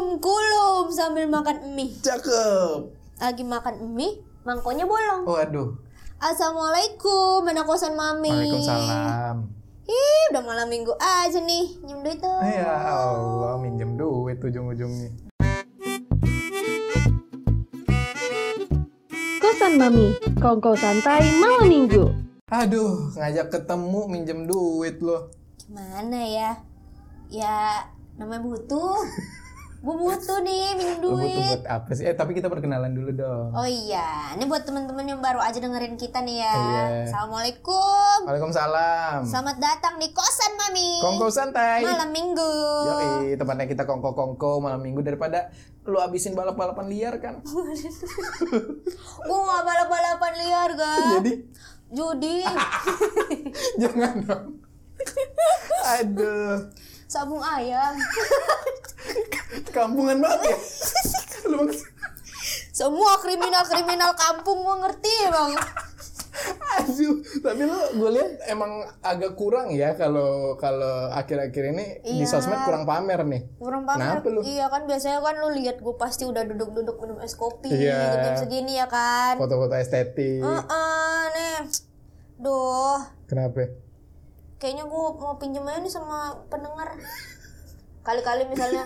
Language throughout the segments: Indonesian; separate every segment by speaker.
Speaker 1: dikulum-kulum sambil makan mie.
Speaker 2: Cakep.
Speaker 1: Lagi makan mie, mangkonya bolong.
Speaker 2: Waduh.
Speaker 1: Assalamualaikum, mana kosan mami?
Speaker 2: Waalaikumsalam.
Speaker 1: Ih, udah malam minggu aja nih, nyium duit tuh.
Speaker 2: Ya Allah, minjem duit ujung-ujungnya.
Speaker 3: Kosan Mami, kongko santai malam minggu.
Speaker 2: Aduh, ngajak ketemu minjem duit loh.
Speaker 1: Gimana ya? Ya, namanya butuh. Bu butuh nih minum
Speaker 2: Lu butuh
Speaker 1: duit.
Speaker 2: buat apa sih? Eh, tapi kita perkenalan dulu dong.
Speaker 1: Oh iya, ini buat teman-teman yang baru aja dengerin kita nih ya.
Speaker 2: Iya.
Speaker 1: Assalamualaikum.
Speaker 2: Waalaikumsalam.
Speaker 1: Selamat datang di kosan mami.
Speaker 2: Kongko santai.
Speaker 1: Malam minggu.
Speaker 2: Yoi, tempatnya kita kongko-kongko malam minggu daripada lu abisin balap-balapan liar kan.
Speaker 1: Gua nggak balap-balapan liar, guys.
Speaker 2: Jadi
Speaker 1: Judi,
Speaker 2: jangan dong. Aduh,
Speaker 1: sabung ayam.
Speaker 2: kampungan banget ya. Lu maksud-
Speaker 1: Semua kriminal-kriminal kampung gua ngerti, Bang.
Speaker 2: Aduh, tapi lo gue lihat emang agak kurang ya kalau kalau akhir-akhir ini di
Speaker 1: Iya.
Speaker 2: sosmed kurang pamer nih.
Speaker 1: Kurang pamer.
Speaker 2: Kenapa lu?
Speaker 1: Iya kan biasanya kan lu lihat gua pasti udah duduk-duduk minum es kopi
Speaker 2: Iya.
Speaker 1: gitu, jam segini ya kan.
Speaker 2: Foto-foto estetik.
Speaker 1: Heeh, nih. Duh,
Speaker 2: Kenapa?
Speaker 1: kayaknya gue mau pinjem aja nih sama pendengar kali-kali misalnya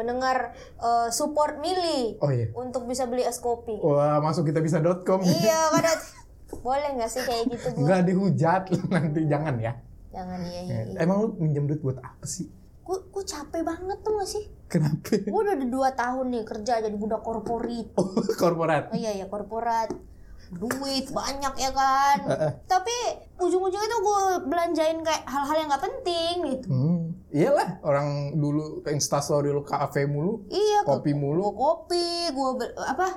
Speaker 1: pendengar eh, support Mili
Speaker 2: Oh iya.
Speaker 1: untuk bisa beli es kopi
Speaker 2: Wah, masuk kita bisa.com.
Speaker 1: iya kan Dad? boleh nggak sih kayak gitu gue
Speaker 2: Enggak dihujat lu nanti jangan ya.
Speaker 1: jangan iya iya iya.
Speaker 2: Emang lu minjem duit buat apa sih?
Speaker 1: gue gue capek banget tuh gak sih
Speaker 2: Kenapa?
Speaker 1: gue udah ada dua tahun nih kerja jadi budak korporat
Speaker 2: Oh, korporat.
Speaker 1: oh iya iya korporat duit banyak ya kan
Speaker 2: Heeh.
Speaker 1: tapi ujung-ujungnya tuh gue belanjain kayak hal-hal yang nggak penting gitu
Speaker 2: Hmm, iyalah orang dulu ke instastory lu kafe mulu,
Speaker 1: iya ke
Speaker 2: kopi
Speaker 1: gue
Speaker 2: mulu.
Speaker 1: kopi, gue apa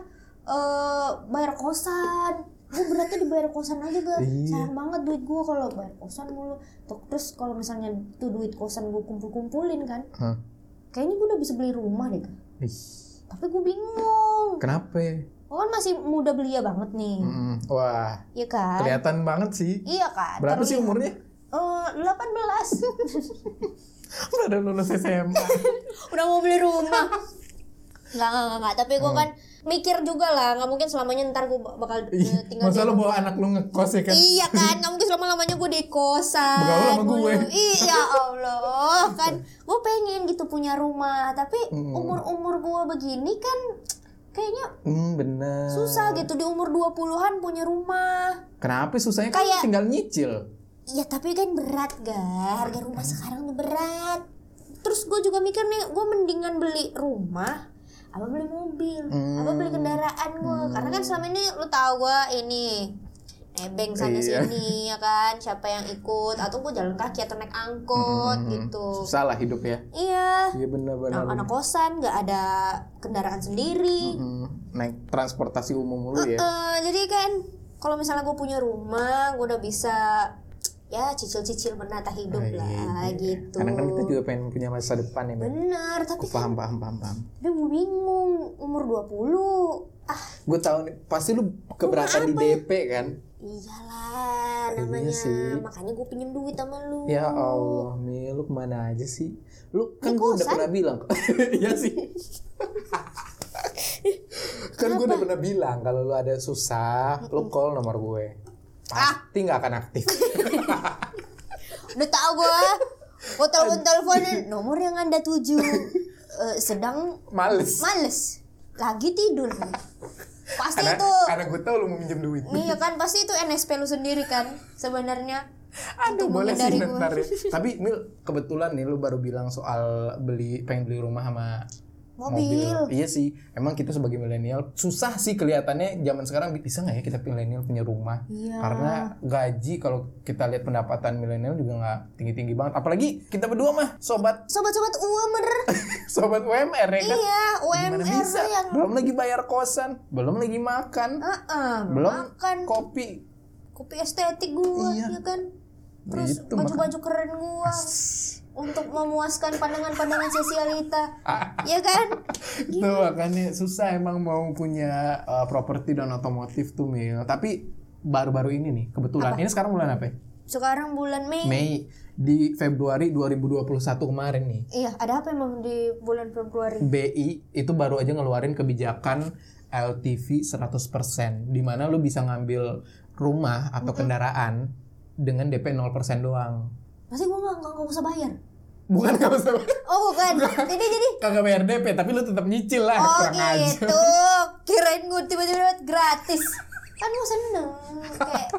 Speaker 1: eh bayar kosan. Gue beratnya dibayar kosan aja gue.
Speaker 2: Iya.
Speaker 1: Sayang banget duit gue kalau bayar kosan mulu. Tuk- Terus kalau misalnya tuh duit kosan gue kumpul-kumpulin kan,
Speaker 2: Hah.
Speaker 1: kayaknya gue udah bisa beli rumah deh. Kak.
Speaker 2: Ih,
Speaker 1: Tapi gue bingung.
Speaker 2: kenapa?
Speaker 1: Gue kan masih muda belia banget nih.
Speaker 2: Mm-mm. Wah,
Speaker 1: Iya kan?
Speaker 2: kelihatan banget sih.
Speaker 1: Iya kan?
Speaker 2: Berapa sih
Speaker 1: Terlihat-
Speaker 2: umurnya?
Speaker 1: Eh, 18.
Speaker 2: Baru lulus SMA.
Speaker 1: udah mau beli rumah nggak nggak nggak, nggak tapi
Speaker 2: Oh.
Speaker 1: gue kan mikir juga lah nggak mungkin selamanya ntar gue bakal eh,
Speaker 2: Ih,
Speaker 1: tinggal
Speaker 2: Masa
Speaker 1: di
Speaker 2: lu bawa anak lu ngekos ya kan?
Speaker 1: Iya kan, nggak mungkin selama lamanya gue di kosan.
Speaker 2: Bergaul sama
Speaker 1: mulu.
Speaker 2: gue.
Speaker 1: Iya Allah, kan gue pengen gitu punya rumah, tapi
Speaker 2: Mm.
Speaker 1: umur umur gue begini kan kayaknya
Speaker 2: Hmm, bener.
Speaker 1: susah gitu di umur 20-an punya rumah.
Speaker 2: Kenapa susahnya kan
Speaker 1: Kayak-
Speaker 2: tinggal nyicil?
Speaker 1: Iya tapi kan berat gar, harga rumah sekarang tuh berat. Terus gue juga mikir nih, gue mendingan beli rumah apa beli mobil,
Speaker 2: Hmm.
Speaker 1: apa beli kendaraan gue, karena kan selama ini lu tahu gue ini nebeng sana
Speaker 2: Iya.
Speaker 1: sini ya kan, siapa yang ikut atau gue jalan kaki atau naik angkot
Speaker 2: Hmm,
Speaker 1: gitu.
Speaker 2: Susah lah hidup ya.
Speaker 1: Iya,
Speaker 2: Iya bener-bener.
Speaker 1: anak, anak kosan nggak ada kendaraan sendiri.
Speaker 2: Hmm, Naik transportasi umum mulu ya.
Speaker 1: Eh, jadi kan kalau misalnya gue punya rumah, gue udah bisa ya cicil-cicil menata hidup
Speaker 2: Iya,
Speaker 1: lah
Speaker 2: iya.
Speaker 1: gitu.
Speaker 2: Kadang kan kita juga pengen punya masa depan ya. Ben.
Speaker 1: Bener, tapi
Speaker 2: Aku paham, paham, paham, paham.
Speaker 1: tapi gue bingung umur 20 ah
Speaker 2: Gue tahu nih, pasti lu keberatan di DP kan?
Speaker 1: iyalah
Speaker 2: Iya
Speaker 1: namanya
Speaker 2: sih.
Speaker 1: makanya gue pinjem duit sama lu
Speaker 2: Ya Allah, Mi, lu kemana aja sih? Lu kan
Speaker 1: Di
Speaker 2: gue udah
Speaker 1: kosan.
Speaker 2: pernah bilang. Iya sih. kan gue udah pernah bilang kalau lu ada susah, lu call nomor gue.
Speaker 1: Ah.
Speaker 2: Pasti nggak akan aktif.
Speaker 1: udah tau gue gue telepon teleponin nomor yang anda tuju Eh, sedang
Speaker 2: Males.
Speaker 1: males lagi tidur pasti
Speaker 2: Karena,
Speaker 1: itu
Speaker 2: karena gue tau lu mau minjem duit.
Speaker 1: iya kan pasti itu NSP lu sendiri kan sebenarnya
Speaker 2: Aduh,
Speaker 1: Untuk
Speaker 2: boleh sih
Speaker 1: menghindari
Speaker 2: ntar
Speaker 1: gue.
Speaker 2: ya. Tapi Mil, kebetulan nih lu baru bilang soal beli pengen beli rumah sama
Speaker 1: Mobil.
Speaker 2: Iya sih. Emang kita sebagai milenial susah sih kelihatannya zaman sekarang bisa nggak ya kita milenial punya rumah?
Speaker 1: Iya.
Speaker 2: Karena gaji kalau kita lihat pendapatan milenial juga nggak tinggi-tinggi banget. Apalagi kita berdua mah sobat
Speaker 1: sobat-sobat UMR
Speaker 2: sobat UMR ya kan.
Speaker 1: iya UMR
Speaker 2: Gimana bisa?
Speaker 1: tuh yang
Speaker 2: Belum lagi bayar kosan, belum lagi makan,
Speaker 1: Heeh,
Speaker 2: belum
Speaker 1: makan
Speaker 2: kopi.
Speaker 1: kopi estetik gua
Speaker 2: Iya.
Speaker 1: ya kan terus
Speaker 2: Gitu,
Speaker 1: baju-baju keren gua untuk memuaskan pandangan-pandangan sosialita ya kan
Speaker 2: Itu makanya susah emang mau punya uh, properti dan otomotif tuh Mil. Tapi baru-baru ini nih kebetulan. Ini sekarang bulan apa? ya?
Speaker 1: Sekarang bulan Mei.
Speaker 2: Mei di Februari 2021 kemarin nih.
Speaker 1: Iya, ada apa emang di bulan Februari?
Speaker 2: BI itu baru aja ngeluarin kebijakan LTV 100% di mana lu bisa ngambil rumah atau kendaraan dengan DP 0% doang.
Speaker 1: Masih gua nggak nggak nggak usah bayar.
Speaker 2: Bukan kamu sama
Speaker 1: Oh bukan. Jadi jadi.
Speaker 2: kagak bayar DP tapi lu tetap nyicil lah
Speaker 1: Oh
Speaker 2: kurang aja.
Speaker 1: gitu. Kirain gue tiba-tiba dapat gratis. Kan gue seneng. Kayak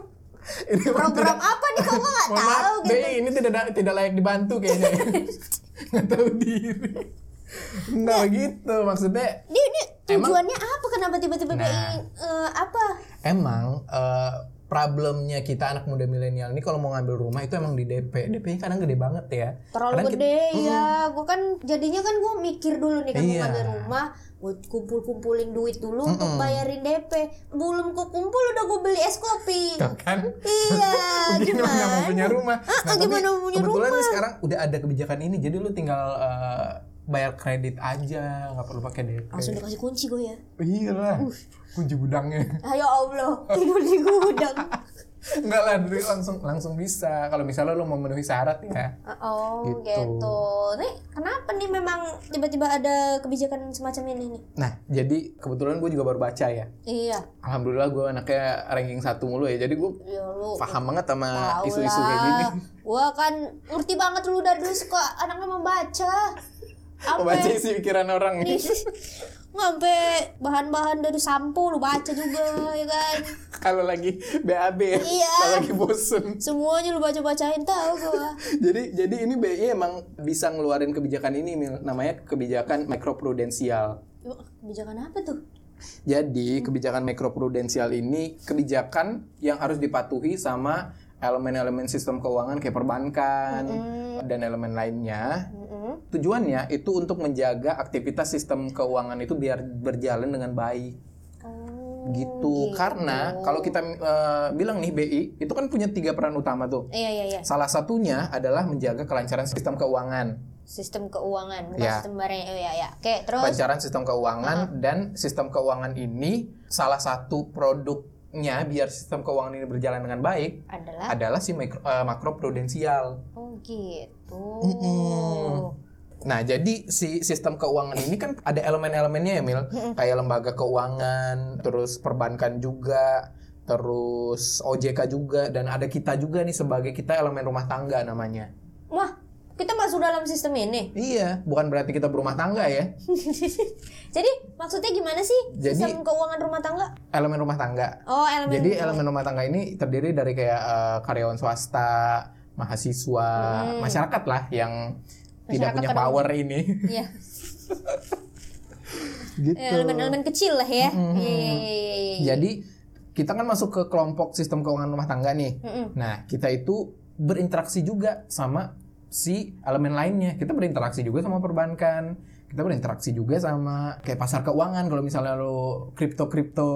Speaker 2: Ini memang
Speaker 1: program
Speaker 2: tidak-
Speaker 1: apa nih kok gue nggak
Speaker 2: Mohon maaf,
Speaker 1: tahu gitu.
Speaker 2: BI ini tidak tidak layak dibantu kayaknya. Nggak tahu diri. Nah, gitu maksudnya
Speaker 1: Dia ini tujuannya apa? Kenapa tiba-tiba
Speaker 2: Nah.
Speaker 1: BI eh, apa?
Speaker 2: emang eh, problemnya kita anak muda milenial ini kalau mau ngambil rumah itu emang di DP. DP-nya kadang gede banget ya.
Speaker 1: Terlalu
Speaker 2: Kadang kita-
Speaker 1: gede ya. Gue kan jadinya kan gue mikir dulu nih kan mau
Speaker 2: Iya.
Speaker 1: ngambil rumah. Gue kumpul-kumpulin duit dulu untuk bayarin DP. Belum gue kumpul udah gue beli es kopi.
Speaker 2: Tuh kan?
Speaker 1: iya.
Speaker 2: Gimana nggak mau punya rumah? Nah, tapi
Speaker 1: Ah, gimana mau punya
Speaker 2: kebetulan nih sekarang udah ada kebijakan ini, jadi lu tinggal eh, bayar kredit aja, nggak perlu pakai DP.
Speaker 1: Langsung dikasih kunci gue ya.
Speaker 2: Iya lah, kunci gudangnya.
Speaker 1: Ayo Allah, tidur di gudang.
Speaker 2: Enggak lah, duit langsung langsung bisa. Kalau misalnya lu memenuhi syarat ya.
Speaker 1: Oh
Speaker 2: Gitu.
Speaker 1: gitu. Nih kenapa nih memang tiba-tiba ada kebijakan semacam ini nih?
Speaker 2: Nah, jadi kebetulan gue juga baru baca ya.
Speaker 1: Iya,
Speaker 2: Alhamdulillah gue anaknya ranking satu mulu ya. Jadi gue
Speaker 1: ya lu.
Speaker 2: paham banget sama
Speaker 1: tau
Speaker 2: isu-isu kayak
Speaker 1: lah.
Speaker 2: gini.
Speaker 1: Gua kan ngerti banget lu dari dulu suka anaknya membaca. Apa?
Speaker 2: Apa Oh,
Speaker 1: ya?
Speaker 2: baca isi pikiran orang ya. nih.
Speaker 1: Ngampe bahan-bahan dari sampo lu baca juga ya kan.
Speaker 2: Kalau lagi BAB ya.
Speaker 1: Iya.
Speaker 2: Kalau lagi bosen.
Speaker 1: Semuanya lu baca-bacain tahu gua.
Speaker 2: Jadi jadi ini BI emang bisa ngeluarin kebijakan ini Mil. namanya kebijakan mikroprudensial.
Speaker 1: Yuk, Kebijakan apa tuh? Hmm.
Speaker 2: Jadi kebijakan mikroprudensial ini kebijakan yang harus dipatuhi sama elemen-elemen sistem keuangan kayak perbankan
Speaker 1: Hmm.
Speaker 2: dan elemen lainnya.
Speaker 1: Mm-mm.
Speaker 2: Tujuannya itu untuk menjaga aktivitas sistem keuangan itu biar berjalan dengan baik
Speaker 1: Oh,
Speaker 2: gitu. Karena kalau kita eh, bilang nih BI itu kan punya tiga peran utama tuh.
Speaker 1: Iya iya iya.
Speaker 2: Salah satunya adalah menjaga kelancaran sistem keuangan.
Speaker 1: Sistem keuangan, bukan
Speaker 2: Iya.
Speaker 1: sistem barang. Oh iya iya. Oke, terus
Speaker 2: Kelancaran sistem keuangan dan sistem keuangan ini salah satu produknya biar sistem keuangan ini berjalan dengan baik
Speaker 1: adalah
Speaker 2: adalah si mikro, eh, makroprudensial.
Speaker 1: Oh gitu.
Speaker 2: Mm-mm. Nah, jadi si sistem keuangan ini kan ada elemen-elemennya ya, Mil. Kayak lembaga keuangan, terus perbankan juga, terus OJK juga dan ada kita juga nih sebagai kita elemen rumah tangga namanya.
Speaker 1: Wah, kita masuk dalam sistem ini.
Speaker 2: Iya, bukan berarti kita berumah tangga ya.
Speaker 1: Jadi maksudnya gimana sih
Speaker 2: Jadi-
Speaker 1: sistem keuangan rumah tangga?
Speaker 2: Elemen rumah tangga.
Speaker 1: Oh elemen.
Speaker 2: Jadi elemen rumah tangga ini terdiri dari kayak eh, karyawan swasta, mahasiswa,
Speaker 1: Hmm.
Speaker 2: masyarakat lah yang tidak
Speaker 1: Masyarakat
Speaker 2: punya
Speaker 1: pada
Speaker 2: power ini.
Speaker 1: Iya.
Speaker 2: gitu.
Speaker 1: Elemen-elemen kecil lah ya.
Speaker 2: Mm-mm.
Speaker 1: Iya iya iya, iya, iya.
Speaker 2: Mm-hmm. Jadi kita kan masuk ke kelompok sistem keuangan rumah tangga nih.
Speaker 1: Mm-mm.
Speaker 2: Nah, kita itu berinteraksi juga sama si elemen lainnya. Kita berinteraksi juga sama perbankan. Kita berinteraksi juga sama kayak pasar keuangan kalau misalnya lo kripto-kripto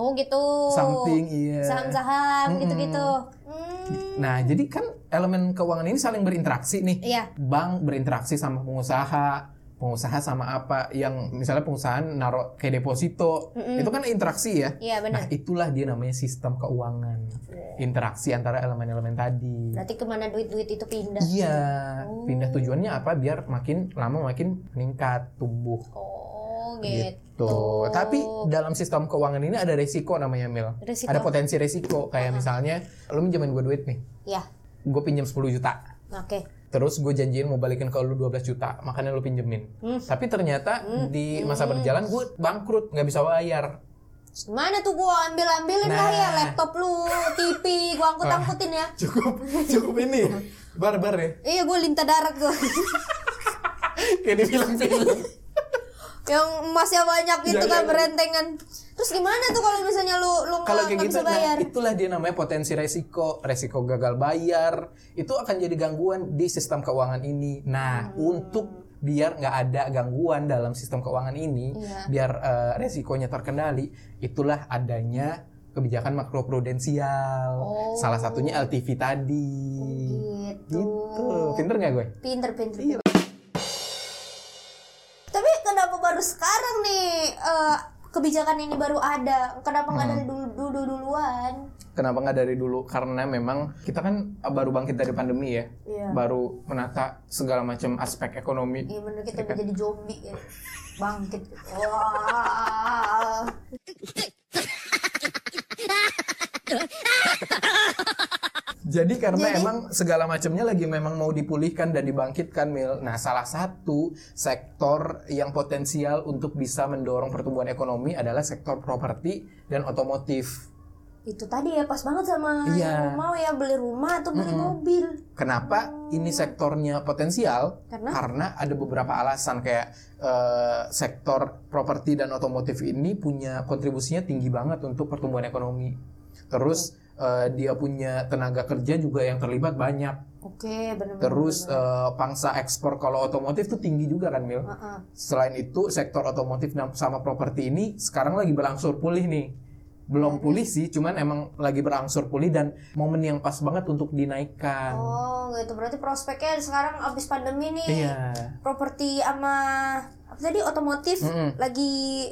Speaker 1: Oh gitu.
Speaker 2: something iya.
Speaker 1: Saham-saham
Speaker 2: Mm-mm.
Speaker 1: gitu-gitu. Hmm.
Speaker 2: Nah, jadi kan elemen keuangan ini saling berinteraksi nih.
Speaker 1: Iya.
Speaker 2: bank berinteraksi sama pengusaha pengusaha sama apa yang misalnya pengusaha naruh kayak deposito
Speaker 1: Mm-mm.
Speaker 2: itu kan interaksi ya
Speaker 1: Iya
Speaker 2: nah
Speaker 1: benar.
Speaker 2: itulah dia namanya sistem keuangan interaksi antara elemen-elemen tadi
Speaker 1: Berarti kemana duit-duit itu pindah?
Speaker 2: iya
Speaker 1: Oh.
Speaker 2: pindah tujuannya apa biar makin lama makin meningkat tumbuh
Speaker 1: Oh
Speaker 2: gitu.
Speaker 1: gitu.
Speaker 2: tapi dalam sistem keuangan ini ada resiko namanya mil
Speaker 1: Resiko.
Speaker 2: ada potensi resiko kayak misalnya lu minjemin gue duit nih
Speaker 1: Ya.
Speaker 2: gue pinjam 10 juta
Speaker 1: Oke.
Speaker 2: Terus gue janjiin mau balikin ke lu 12 juta, makanya lu pinjemin.
Speaker 1: Hmm.
Speaker 2: Tapi ternyata di masa berjalan gue bangkrut, nggak bisa bayar.
Speaker 1: Mana tuh gua ambil-ambilin
Speaker 2: Nah.
Speaker 1: lah ya laptop lu, TV gua angkut-angkutin ya.
Speaker 2: Cukup, cukup ini. Barbar ya.
Speaker 1: Iya gua lintah darat gua.
Speaker 2: Kayak gitu. dibilang film.
Speaker 1: Yang emasnya banyak gitu kan
Speaker 2: Jangan.
Speaker 1: berentengan. Terus gimana tuh kalau misalnya lu lu
Speaker 2: Kalau
Speaker 1: nggak
Speaker 2: kayak
Speaker 1: nggak
Speaker 2: gitu,
Speaker 1: bisa
Speaker 2: nah,
Speaker 1: bayar?
Speaker 2: itulah dia namanya potensi resiko. Resiko gagal bayar, itu akan jadi gangguan di sistem keuangan ini.
Speaker 1: Hmm.
Speaker 2: Nah, untuk biar nggak ada gangguan dalam sistem keuangan ini,
Speaker 1: Iya.
Speaker 2: biar eh, resikonya terkendali, itulah adanya kebijakan makroprudensial.
Speaker 1: Oh.
Speaker 2: Salah satunya LTV tadi.
Speaker 1: gitu.
Speaker 2: Gitu. Iya. Pinter nggak gue?
Speaker 1: Pinter pinter. pinter. Tapi kenapa baru sekarang nih eh, kebijakan ini baru ada kenapa
Speaker 2: Hmm.
Speaker 1: nggak dari dulu dulu duluan
Speaker 2: Kenapa nggak dari dulu? Karena memang kita kan baru bangkit dari pandemi ya,
Speaker 1: Iya.
Speaker 2: baru menata segala macam aspek ekonomi.
Speaker 1: Iya bener kita udah jadi zombie ya. Bangkit. Wah.
Speaker 2: Jadi karena
Speaker 1: Jadi-
Speaker 2: emang segala macamnya lagi memang mau dipulihkan dan dibangkitkan Mil. Nah, salah satu sektor yang potensial untuk bisa mendorong pertumbuhan ekonomi adalah sektor properti dan otomotif.
Speaker 1: Itu tadi ya pas banget sama yang
Speaker 2: Iya.
Speaker 1: lu mau ya beli rumah atau beli
Speaker 2: Mm-mm.
Speaker 1: mobil.
Speaker 2: Kenapa ini sektornya potensial?
Speaker 1: Karena?
Speaker 2: ada beberapa alasan kayak eh, sektor properti dan otomotif ini punya kontribusinya tinggi banget untuk pertumbuhan ekonomi. Terus eh, dia punya tenaga kerja juga yang terlibat banyak.
Speaker 1: Oke, bener bener.
Speaker 2: Terus eh, pangsa ekspor kalau otomotif tuh tinggi juga kan Mil.
Speaker 1: bener. Heeh.
Speaker 2: Selain itu sektor otomotif dan- sama properti ini sekarang lagi berangsur pulih nih. Belum pulih sih, cuman emang lagi berangsur pulih dan momen yang pas banget untuk dinaikkan.
Speaker 1: Oh, gitu. Berarti prospeknya sekarang abis pandemi nih.
Speaker 2: Iya.
Speaker 1: Properti sama apa tadi otomotif
Speaker 2: Mm-mm.
Speaker 1: lagi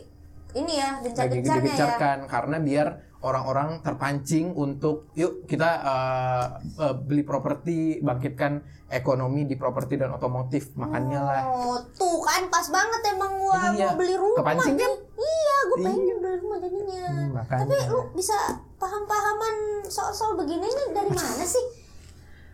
Speaker 1: ini ya
Speaker 2: Lagi
Speaker 1: gencar-gencarnya ya.
Speaker 2: digencarkan karena biar orang-orang terpancing untuk yuk kita eh, eh, beli properti, bangkitkan ekonomi di properti dan otomotif. Makanya lah
Speaker 1: Oh, tuh kan pas banget emang gua
Speaker 2: Iya.
Speaker 1: mau beli rumah.
Speaker 2: Kepancing
Speaker 1: nih.
Speaker 2: kan?
Speaker 1: Iya, gua
Speaker 2: Iya.
Speaker 1: pengen beli rumah jadinya.
Speaker 2: Hmm, makanya.
Speaker 1: Tapi lu bisa paham-pahaman soal-soal begini nih dari mana sih?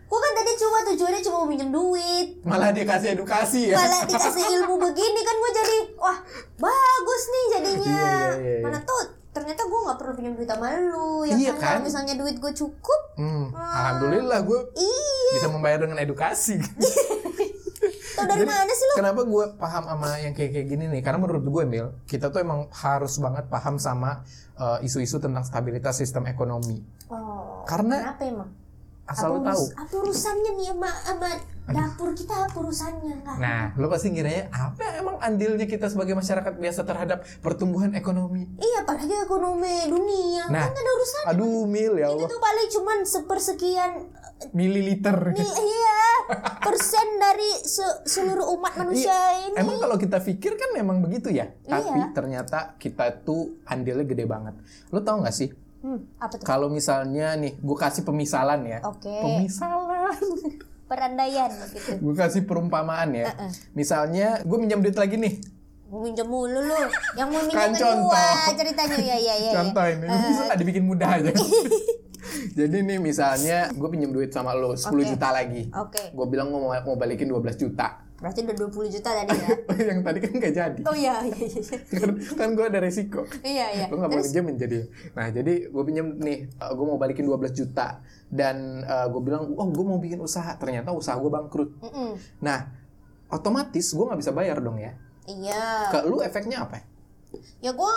Speaker 1: Gua kan tadi cuma tujuannya cuma mau minjem duit.
Speaker 2: malah dikasih edukasi ya.
Speaker 1: Malah dikasih ilmu begini kan gua jadi wah, bagus nih jadinya.
Speaker 2: Iya, iya, iya, iya.
Speaker 1: Mana tuh ternyata gua nggak perlu pinjam duit sama lu. Ya
Speaker 2: Iya
Speaker 1: kan,
Speaker 2: kan?
Speaker 1: kalau misalnya duit gua cukup,
Speaker 2: Hmm, alhamdulillah gue
Speaker 1: iya.
Speaker 2: bisa membayar dengan edukasi.
Speaker 1: Tau dari
Speaker 2: Jadi,
Speaker 1: mana sih lu?
Speaker 2: Kenapa gue paham sama yang kayak kayak gini nih? Karena menurut gue Mil, kita tuh emang harus banget paham sama uh, isu-isu tentang stabilitas sistem ekonomi.
Speaker 1: Oh,
Speaker 2: Karena-
Speaker 1: kenapa emang?
Speaker 2: Asal lo
Speaker 1: apa
Speaker 2: tahu.
Speaker 1: urus- apa urusannya nih sama, sama dapur kita apa urusannya nggak
Speaker 2: Nah, lo pasti ngiranya apa emang andilnya kita sebagai masyarakat biasa terhadap pertumbuhan ekonomi?
Speaker 1: iya apalagi ekonomi dunia
Speaker 2: Nah,
Speaker 1: kan nggak ada urusannya
Speaker 2: Aduh Mil ya
Speaker 1: itu
Speaker 2: Allah,
Speaker 1: tuh paling cuman sepersekian eh,
Speaker 2: mililiter.
Speaker 1: mil iya persen dari se- seluruh umat manusia
Speaker 2: Iya,
Speaker 1: ini
Speaker 2: Emang kalau kita pikir kan memang begitu ya. Tapi
Speaker 1: Iya.
Speaker 2: ternyata kita tuh andilnya gede banget. Lo tau gak sih?
Speaker 1: Hmm, apa tuh
Speaker 2: Kalau misalnya nih, gue kasih pemisalan ya.
Speaker 1: Oke.
Speaker 2: Pemisalan.
Speaker 1: perandaian gitu
Speaker 2: gue kasih perumpamaan ya.
Speaker 1: Uh-uh.
Speaker 2: Misalnya gue minjam duit lagi nih.
Speaker 1: Gua minjem mulu lu yang mau minjem
Speaker 2: Kan contoh.
Speaker 1: gua ceritanya ya ya ya
Speaker 2: Contoh ini bisa nggak dibikin mudah aja. Jadi nih misalnya gue pinjam duit sama lo 10
Speaker 1: Oke.
Speaker 2: juta lagi.
Speaker 1: Oke.
Speaker 2: Gue bilang gua mau mau balikin 12 juta.
Speaker 1: berarti udah 20 juta tadi ya
Speaker 2: Yang tadi kan nggak jadi.
Speaker 1: oh iya iya iya iya.
Speaker 2: kan, kan gue ada resiko.
Speaker 1: iya iya
Speaker 2: Lo nggak boleh pinjamin jadi. Nah jadi gue pinjam nih, gue mau balikin 12 juta dan gue bilang, oh gue mau bikin usaha. Ternyata usaha gue bangkrut.
Speaker 1: Mm-mm.
Speaker 2: Nah otomatis gue nggak bisa bayar dong ya.
Speaker 1: iya
Speaker 2: Ke lu efeknya apa? ya?
Speaker 1: ya gua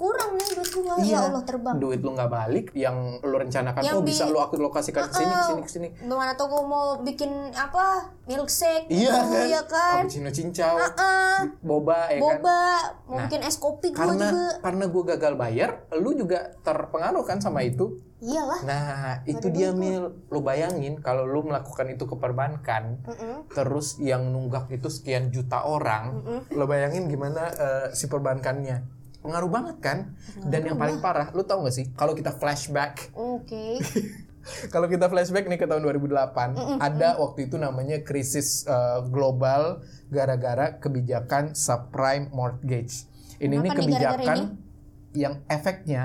Speaker 1: kurang nih duit gua
Speaker 2: Iya.
Speaker 1: ya Allah terbang
Speaker 2: Duit lu nggak balik, yang lu rencanakan
Speaker 1: Yang
Speaker 2: oh
Speaker 1: di-
Speaker 2: bisa lu aku lokasikan ke sini, ke sini, ke sini.
Speaker 1: Gimana tuh gua mau bikin apa milkshake gitu, ya kan
Speaker 2: Iya Cappuccino cincau,
Speaker 1: Ah,
Speaker 2: boba ya kan.
Speaker 1: boba mau
Speaker 2: Nah,
Speaker 1: bikin es kopi gua
Speaker 2: Karena
Speaker 1: juga
Speaker 2: karena gue gagal bayar, lu juga terpengaruh kan sama itu.
Speaker 1: iyalah
Speaker 2: Nah, itu
Speaker 1: Aduh,
Speaker 2: dia
Speaker 1: betul.
Speaker 2: mil. Lu bayangin kalau lu melakukan itu ke perbankan,
Speaker 1: Mm-mm.
Speaker 2: terus yang nunggak itu sekian juta orang, lu bayangin gimana eh, si perbankannya. Pengaruh banget kan? Dan yang paling parah, lu tau gak sih kalau kita flashback
Speaker 1: oke
Speaker 2: Kalau kita flashback nih ke tahun 2008, ada waktu itu namanya krisis eh, global gara-gara kebijakan subprime mortgage. Ini nih
Speaker 1: Kenapa nih gara-gara
Speaker 2: kebijakan
Speaker 1: ini? Hmm?
Speaker 2: yang efeknya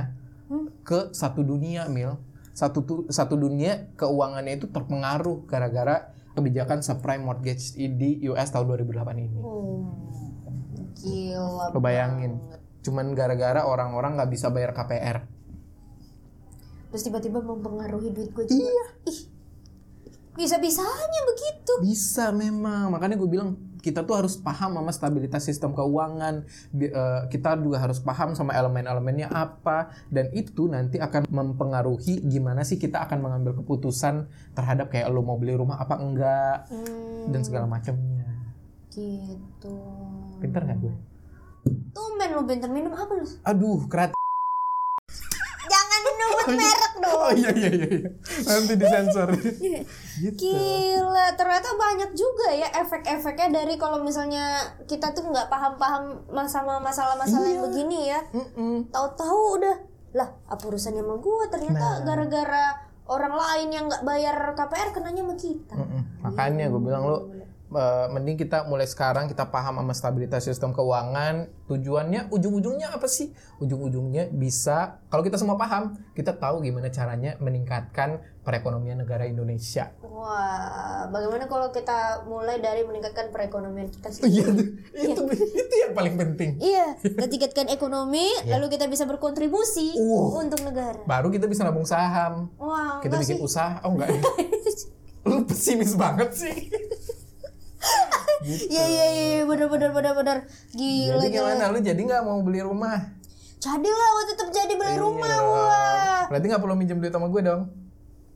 Speaker 2: ke satu dunia, Mil. Satu tu- satu dunia keuangannya itu terpengaruh gara-gara kebijakan subprime mortgage di US tahun 2008 ini.
Speaker 1: Oh, gila
Speaker 2: Lo bayangin, cuman gara-gara orang-orang nggak bisa bayar KPR.
Speaker 1: terus tiba-tiba mempengaruhi duit gua juga
Speaker 2: Iya.
Speaker 1: ih bisa-bisanya begitu
Speaker 2: Bisa memang, makanya gue bilang kita tuh harus paham sama stabilitas sistem keuangan. Bi- eh, Kita juga harus paham sama elemen-elemennya apa dan itu nanti akan mempengaruhi gimana sih kita akan mengambil keputusan terhadap kayak lo mau beli rumah apa enggak
Speaker 1: Hmm,
Speaker 2: dan segala macamnya.
Speaker 1: gitu
Speaker 2: Pinter nggak gue?
Speaker 1: tuh men lu bentar minum apa lu
Speaker 2: Aduh, kreatif.
Speaker 1: jangan minum nyebut merek dong.
Speaker 2: Oh iya iya iya. iya. Nanti disensor. gitu.
Speaker 1: Iya. Gila, ternyata banyak juga ya efek-efeknya dari kalau misalnya kita tuh nggak paham-paham masalah masalah-masalah yang
Speaker 2: Iya.
Speaker 1: begini ya.
Speaker 2: Mm-mm.
Speaker 1: Tahu-tahu udah lah apa urusannya sama gua ternyata
Speaker 2: Nah.
Speaker 1: gara-gara orang lain yang nggak bayar KPR kenanya sama kita.
Speaker 2: Mm-mm. Makanya gue bilang lu eh, mending kita mulai sekarang kita paham sama stabilitas sistem keuangan. Tujuannya ujung-ujungnya apa sih? Ujung-ujungnya bisa kalau kita semua paham, kita tahu gimana caranya meningkatkan perekonomian negara Indonesia.
Speaker 1: Wah, bagaimana kalau kita mulai dari meningkatkan perekonomian kita sendiri?
Speaker 2: Iya tuh. itu itu yang paling penting.
Speaker 1: Iya, kita tingkatkan ekonomi,
Speaker 2: Iya.
Speaker 1: lalu kita bisa berkontribusi
Speaker 2: Uh.
Speaker 1: untuk negara.
Speaker 2: Baru kita bisa nabung saham.
Speaker 1: Wah,
Speaker 2: Kita
Speaker 1: enggak sih.
Speaker 2: bikin usaha. Oh enggak. ya? Lu pesimis banget sih.
Speaker 1: Iya, iya, iya, benar benar benar benar. Gila,
Speaker 2: Jadi
Speaker 1: gila.
Speaker 2: gimana lu jadi nggak mau beli rumah?
Speaker 1: Jadilah waktu tetap jadi beli rumah,
Speaker 2: Iya.
Speaker 1: wah.
Speaker 2: Berarti nggak perlu minjem duit sama gue dong.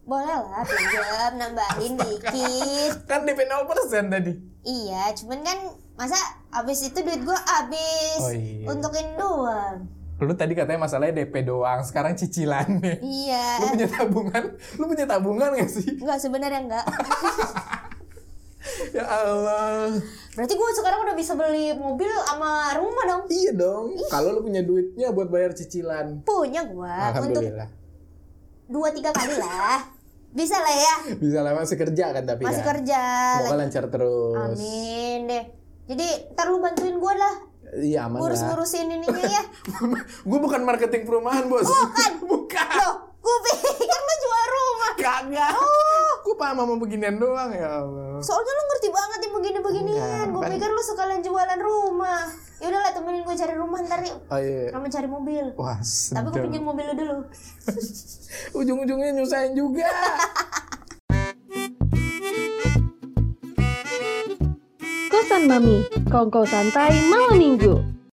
Speaker 1: Boleh lah, pinjam, nambahin dikit.
Speaker 2: Kan DP 0% tadi.
Speaker 1: Iya, cuman kan masa abis itu duit gua abis
Speaker 2: Oh, iya.
Speaker 1: untukin doang.
Speaker 2: Lu tadi katanya masalahnya DP doang, sekarang cicilannya. Lu
Speaker 1: Iya,
Speaker 2: punya tabungan? Lu punya tabungan gak sih?
Speaker 1: enggak sebenarnya enggak.
Speaker 2: Ya Allah.
Speaker 1: Berarti gua sekarang udah bisa beli mobil sama rumah dong.
Speaker 2: Iya dong. Kalau lu punya duitnya buat bayar cicilan.
Speaker 1: Punya gua Ah, untuk
Speaker 2: Alhamdulillah.
Speaker 1: dua tiga kali lah bisa lah ya
Speaker 2: Bisa lah masih kerja kan tapi
Speaker 1: masih
Speaker 2: ya.
Speaker 1: kerja
Speaker 2: Oh, Semoga lancar terus.
Speaker 1: amin deh jadi ntar lu bantuin gue lah
Speaker 2: Iya aman lah.
Speaker 1: ngurus-ngurusin ininya ya
Speaker 2: gue bukan marketing perumahan, Bos.
Speaker 1: Bukan.
Speaker 2: bukan.
Speaker 1: loh gue pikir lu jual rumah Oh,
Speaker 2: Kagak. Gue paham sama beginian doang ya Allah.
Speaker 1: soalnya lu ngerti banget yang begini-beginian
Speaker 2: Enggak,
Speaker 1: gue
Speaker 2: kan.
Speaker 1: pikir lu sekalian jualan rumah yaudah lah temenin gue cari rumah ntar yuk
Speaker 2: Oh iya.
Speaker 1: sama cari mobil
Speaker 2: Wah,
Speaker 1: tapi gue
Speaker 2: sedap.
Speaker 1: pinjam mobil lu dulu
Speaker 2: ujung-ujungnya nyusahin juga.
Speaker 3: Kosan Mami, Kongko Santai Malam Minggu.